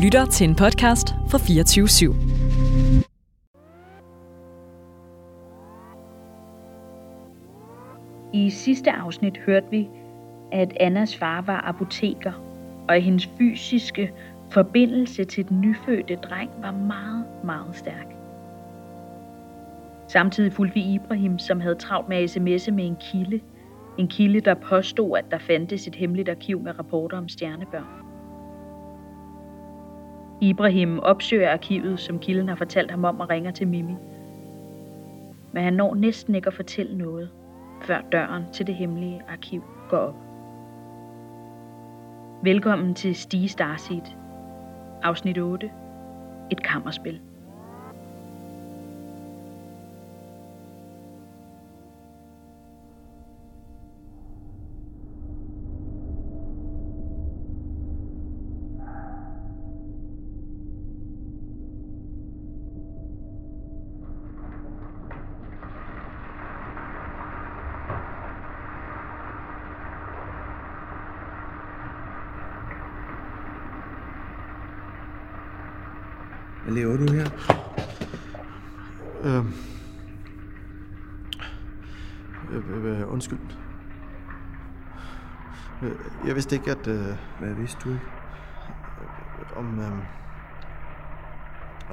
lytter til en podcast fra 24 /7. I sidste afsnit hørte vi, at Annas far var apoteker, og hendes fysiske forbindelse til den nyfødte dreng var meget, meget stærk. Samtidig fulgte vi Ibrahim, som havde travlt med at sms'e med en kilde. En kilde, der påstod, at der fandtes et hemmeligt arkiv med rapporter om stjernebørn. Ibrahim opsøger arkivet, som kilden har fortalt ham om og ringer til Mimi. Men han når næsten ikke at fortælle noget, før døren til det hemmelige arkiv går op. Velkommen til Stige Starseed, afsnit 8, et kammerspil. Hvad laver du her? Øh, øh, øh, undskyld. Øh, Jeg vidste ikke, at... Øh, Hvad vidste du ikke? om, øh,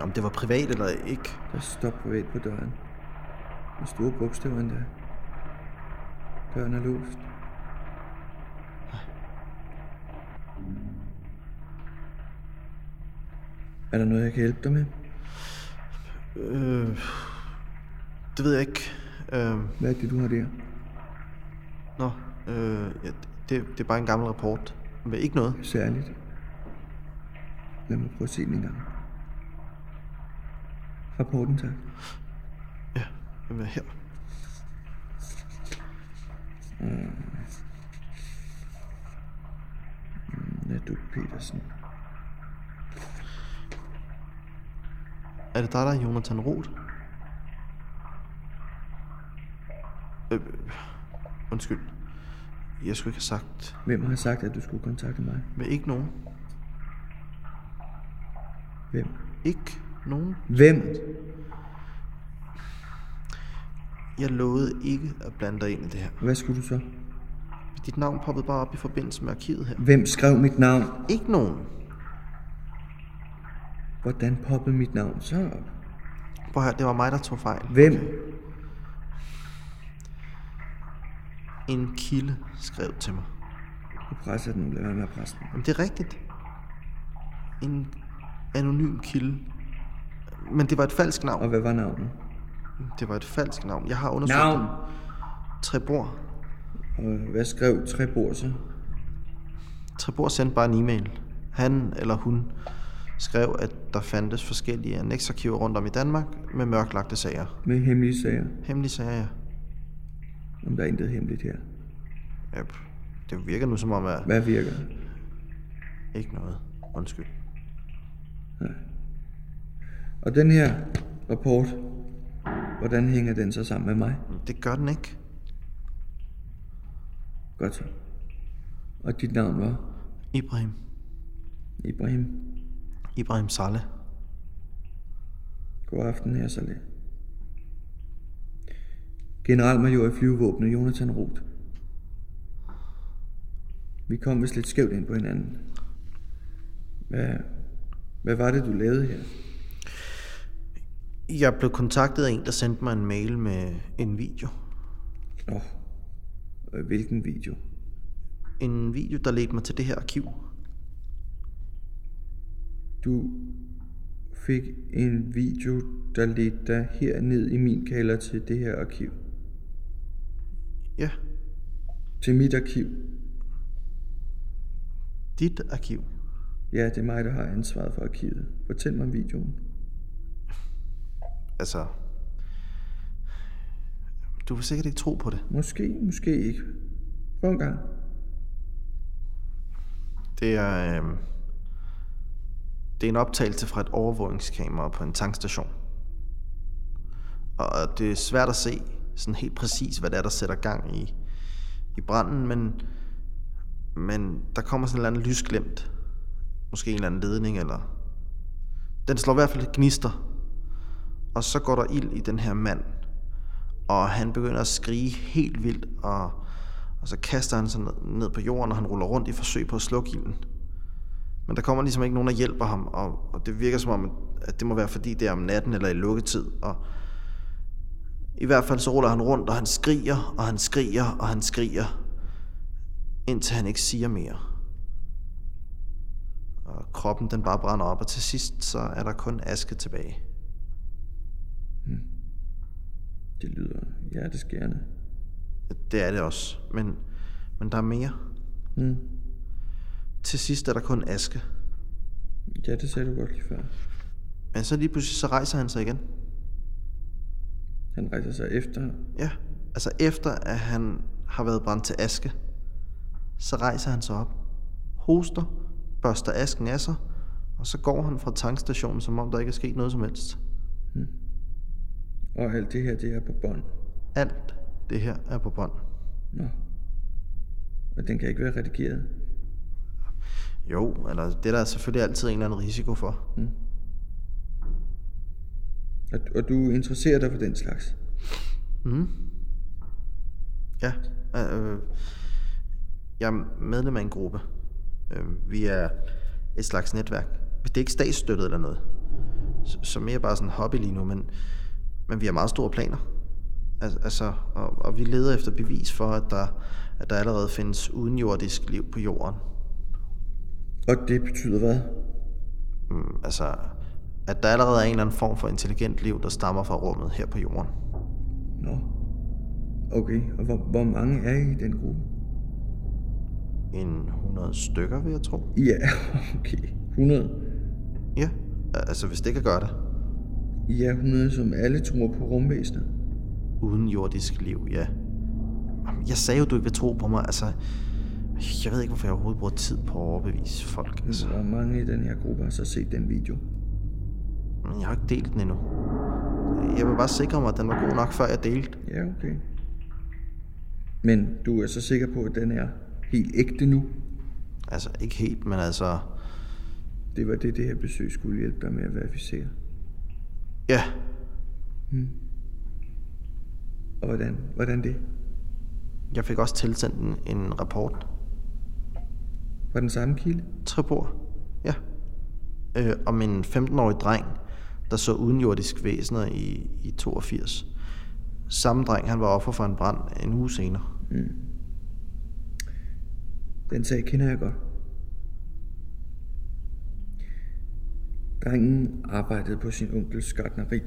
om det var privat eller ikke. Der står privat på døren. Med store bogstaver endda. Døren er låst. Er der noget, jeg kan hjælpe dig med? Øh, det ved jeg ikke. Øh, Hvad er det, du har der? nå, øh, ja, det, det er bare en gammel rapport. Men ikke noget. Særligt. Lad mig prøve at se den en gang. Rapporten, tak. Ja, jamen her. Nadu Petersen. Er det dig, der er Jonathan Roth? Øh, undskyld. Jeg skulle ikke have sagt... Hvem har sagt, at du skulle kontakte mig? Men ikke nogen. Hvem? Ikke nogen. Hvem? Jeg lovede ikke at blande dig ind i det her. Hvad skulle du så? Dit navn poppede bare op i forbindelse med arkivet her. Hvem skrev mit navn? Ikke nogen. Hvordan poppede mit navn så op? Prøv at høre, det var mig, der tog fejl. Hvem? En kilde skrev til mig. Du presser den nu. Lad være med at presse den. Jamen, det er rigtigt. En anonym kilde. Men det var et falsk Og navn. hvad var navnet? Det var et falsk navn. Jeg har undersøgt Navn! det. Trebor. Og hvad skrev Trebor så? Trebor sendte bare en e-mail. Han eller hun skrev, at der fandtes forskellige annexarkiver rundt om i Danmark med mørklagte sager. Med hemmelige sager. Hemmelige sager, ja. Om der er intet hemmeligt her. Yep. Det virker nu som om, at... Hvad virker? Ikke noget. Undskyld. Og den her rapport, hvordan hænger den så sammen med mig? Det gør den ikke. Godt så. Og dit navn var Ibrahim. Ibrahim. Ibrahim Saleh. God aften, her Saleh. Generalmajor i flyvevåbnet Jonathan Roth. Vi kom vist lidt skævt ind på hinanden. Hvad, hvad var det, du lavede her? Jeg blev kontaktet af en, der sendte mig en mail med en video. Nå, øh, hvilken video? En video, der ledte mig til det her arkiv. Du fik en video, der ledte dig herned i min kalder til det her arkiv. Ja, Til mit arkiv. dit arkiv. Ja, det er mig, der har ansvaret for arkivet. Fortæl mig om videoen. Altså... Du vil sikkert ikke tro på det. Måske, måske ikke. Prøv en gang. Det er... Øh... Det er en optagelse fra et overvågningskamera på en tankstation. Og det er svært at se sådan helt præcis, hvad det er, der sætter gang i, i branden, men, men der kommer sådan en eller anden lysglemt. Måske en eller anden ledning, eller Den slår i hvert fald gnister. Og så går der ild i den her mand. Og han begynder at skrige helt vildt, og, og så kaster han sig ned- ned på jorden, og han ruller rundt i forsøg på at slukke ilden. Men der kommer ligesom ikke nogen, der hjælper ham, og, og det virker som om, at det må være fordi det er om natten eller i lukketid. Og I hvert fald så ruller han rundt, og han skriger, og han skriger, og han skriger, indtil han ikke siger mere. Og kroppen den bare brænder op, og til sidst så er der kun aske tilbage. Det lyder hjerteskærende. Det er det også, men, men der er mere. Mm. Til sidst er der kun aske. Ja, det sagde du godt lige før. Men så lige pludselig så rejser han sig igen. Han rejser sig efter. Ja, altså efter at han har været brændt til aske, så rejser han sig op, hoster, børster asken af sig, og så går han fra tankstationen, som om der ikke er sket noget som helst. Og alt det her, det er på bånd. Alt det her er på bånd. Nå. Og den kan ikke være redigeret. Jo, eller det er der selvfølgelig altid en eller anden risiko for. Og, og du interesserer dig for den slags. Mm. Ja, øh, øh, jeg er medlem af en gruppe. Øh, vi er et slags netværk. Det er ikke statsstøttet eller noget. Så, så mere bare sådan en hobby lige nu, men, men vi har meget store planer. Al- Altså, og, og vi leder efter bevis for, at der, at der allerede findes udenjordisk liv på jorden. Og det betyder hvad? Mm, altså, at der allerede er en eller anden form for intelligent liv, der stammer fra rummet her på jorden. Nå. Okay, og hvor, hvor mange er I i den gruppe? En 100 stykker, vil jeg tro. Ja, okay. 100. Ja, altså hvis det kan gøre det. I er 100, som alle tror på rumvæsener. Uden jordisk liv, ja. Jamen, Jeg sagde jo, du ikke vil tro på mig. Altså, jeg ved ikke, hvorfor jeg overhovedet bruger tid på at overbevise folk. Altså, Hvor mange i den her gruppe har så set den video? men jeg har ikke delt den endnu. Jeg vil bare sikre mig, at den var god nok, før jeg delte. Ja, okay. Men du er så sikker på, at den er helt ægte nu? Altså, ikke helt, men altså... Det var det, det her besøg skulle hjælpe dig med at verificere. Ja, Og hvordan, hvordan det? jeg fik også tilsendt en, en rapport. Var den samme kilde? Trebor. Ja. Øh, om en 15-årig dreng, der så udenjordisk væsener i, i 82. Samme dreng, han var offer for en brand en uge senere. Den sag kender jeg godt. Drengen arbejdede på sin onkels gartneri,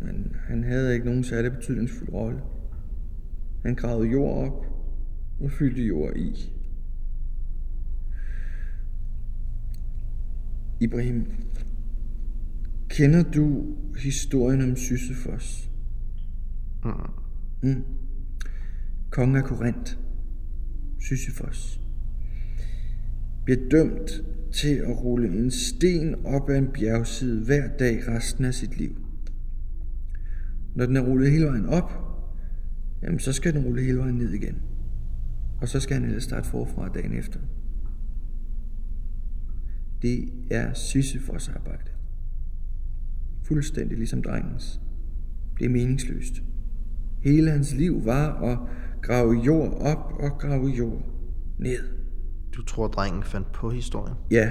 men han havde ikke nogen særlig betydningsfuld rolle. Han gravede jord op og fyldte jord i. Ibrahim, kender du historien om Sisyfos? Mm. Mm. Kongen af Korinth. Sisyfos, bliver dømt til at rulle en sten op ad en bjergside hver dag resten af sit liv. Når den er rullet hele vejen op, jamen så skal den rulle hele vejen ned igen. Og så skal han ellers starte forfra dagen efter. Det er Sisyfos arbejde. Fuldstændig ligesom drengens. Det er meningsløst. Hele hans liv var at grave jord op og grave jord ned. Du tror, drengen fandt på historien? Ja,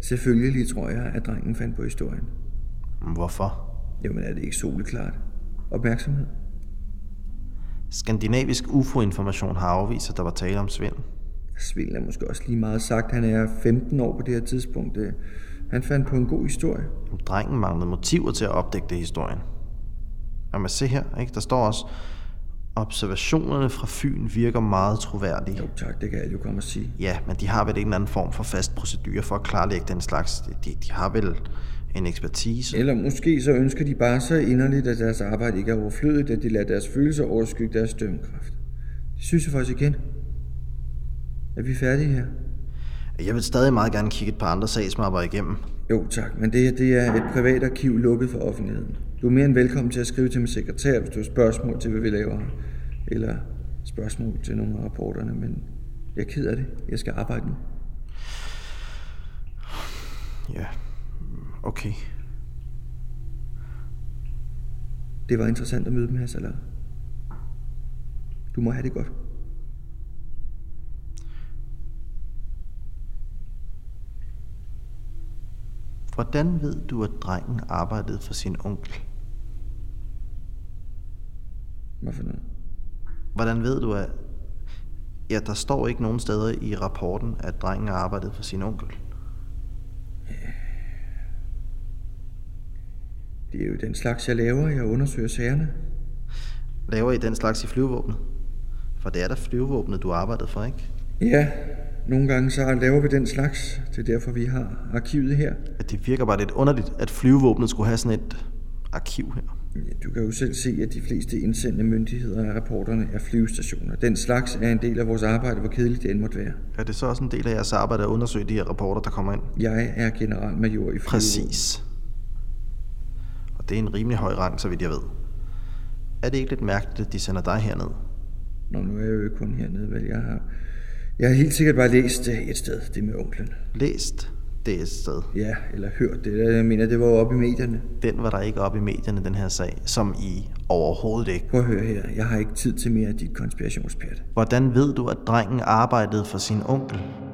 selvfølgelig tror jeg, at drengen fandt på historien. Hvorfor? Jamen er det ikke soleklart? Opmærksomhed? Skandinavisk UFO-information har afvist, at der var tale om svindel. Svindel er måske også lige meget sagt. Han er 15 år på det her tidspunkt. Øh, Han fandt på en god historie. Drengen manglede motiver til at opdægte historien. Jamen se her, ikke? der står også, observationerne fra Fyn virker meget troværdige. Jo tak, det kan jeg jo komme og sige. Ja, men de har vel en eller anden form for fast procedure for at klarlægge den slags. De, de har vel en ekspertise. Eller måske så ønsker de bare så inderligt, at deres arbejde ikke er overflødigt, at de lader deres følelser overskygge deres dømmekraft. Det synes jeg faktisk igen. Er vi færdige her? Jeg vil stadig meget gerne kigge et par andre sagsmapper igennem. Jo tak, men det her det er et privat arkiv lukket for offentligheden. Du er mere end velkommen til at skrive til min sekretær, hvis du har spørgsmål til, hvad vi laver her. Eller spørgsmål til nogle af rapporterne, men jeg er ked af det. Jeg skal arbejde nu. Ja, okay. Det var interessant at møde dem her, Salah. Du må have det godt. Hvordan ved du, at drengen arbejdede for sin onkel? Hvad for noget? Hvordan ved du, at... Ja, der står ikke nogen steder i rapporten, at drengen arbejdede for sin onkel. Det er jo den slags, jeg laver. Jeg undersøger sagerne. Laver I den slags i flyvevåbnet? For det er da flyvevåbnet, du arbejdede for, ikke? Ja, nogle gange så laver vi den slags. Det er derfor, vi har arkivet her. At det virker bare lidt underligt, at flyvevåbnet skulle have sådan et arkiv her. Ja, Du kan jo selv se, at de fleste indsendte myndigheder og rapporterne er flyvestationer. Den slags er en del af vores arbejde, hvor kedeligt det end måtte være. Er det så også en del af jeres arbejde at undersøge de her rapporter, der kommer ind? Jeg er generalmajor i flyvevåbnet. Præcis. Og det er en rimelig høj rang, så vidt jeg ved. Er det ikke lidt mærkeligt, at de sender dig herned? Nå, nu er jeg jo ikke kun hernede, vel? Jeg har, jeg har helt sikkert bare læst øh, et sted, det med onklen. Læst det et sted. Ja, eller hørt det. eller Jeg mener, det var jo oppe i medierne. Den var der ikke op i medierne, den her sag, som I overhovedet ikke. Prøv at høre her. Jeg har ikke tid til mere af dit konspirationspjat. Hvordan ved du, at drengen arbejdede for sin onkel?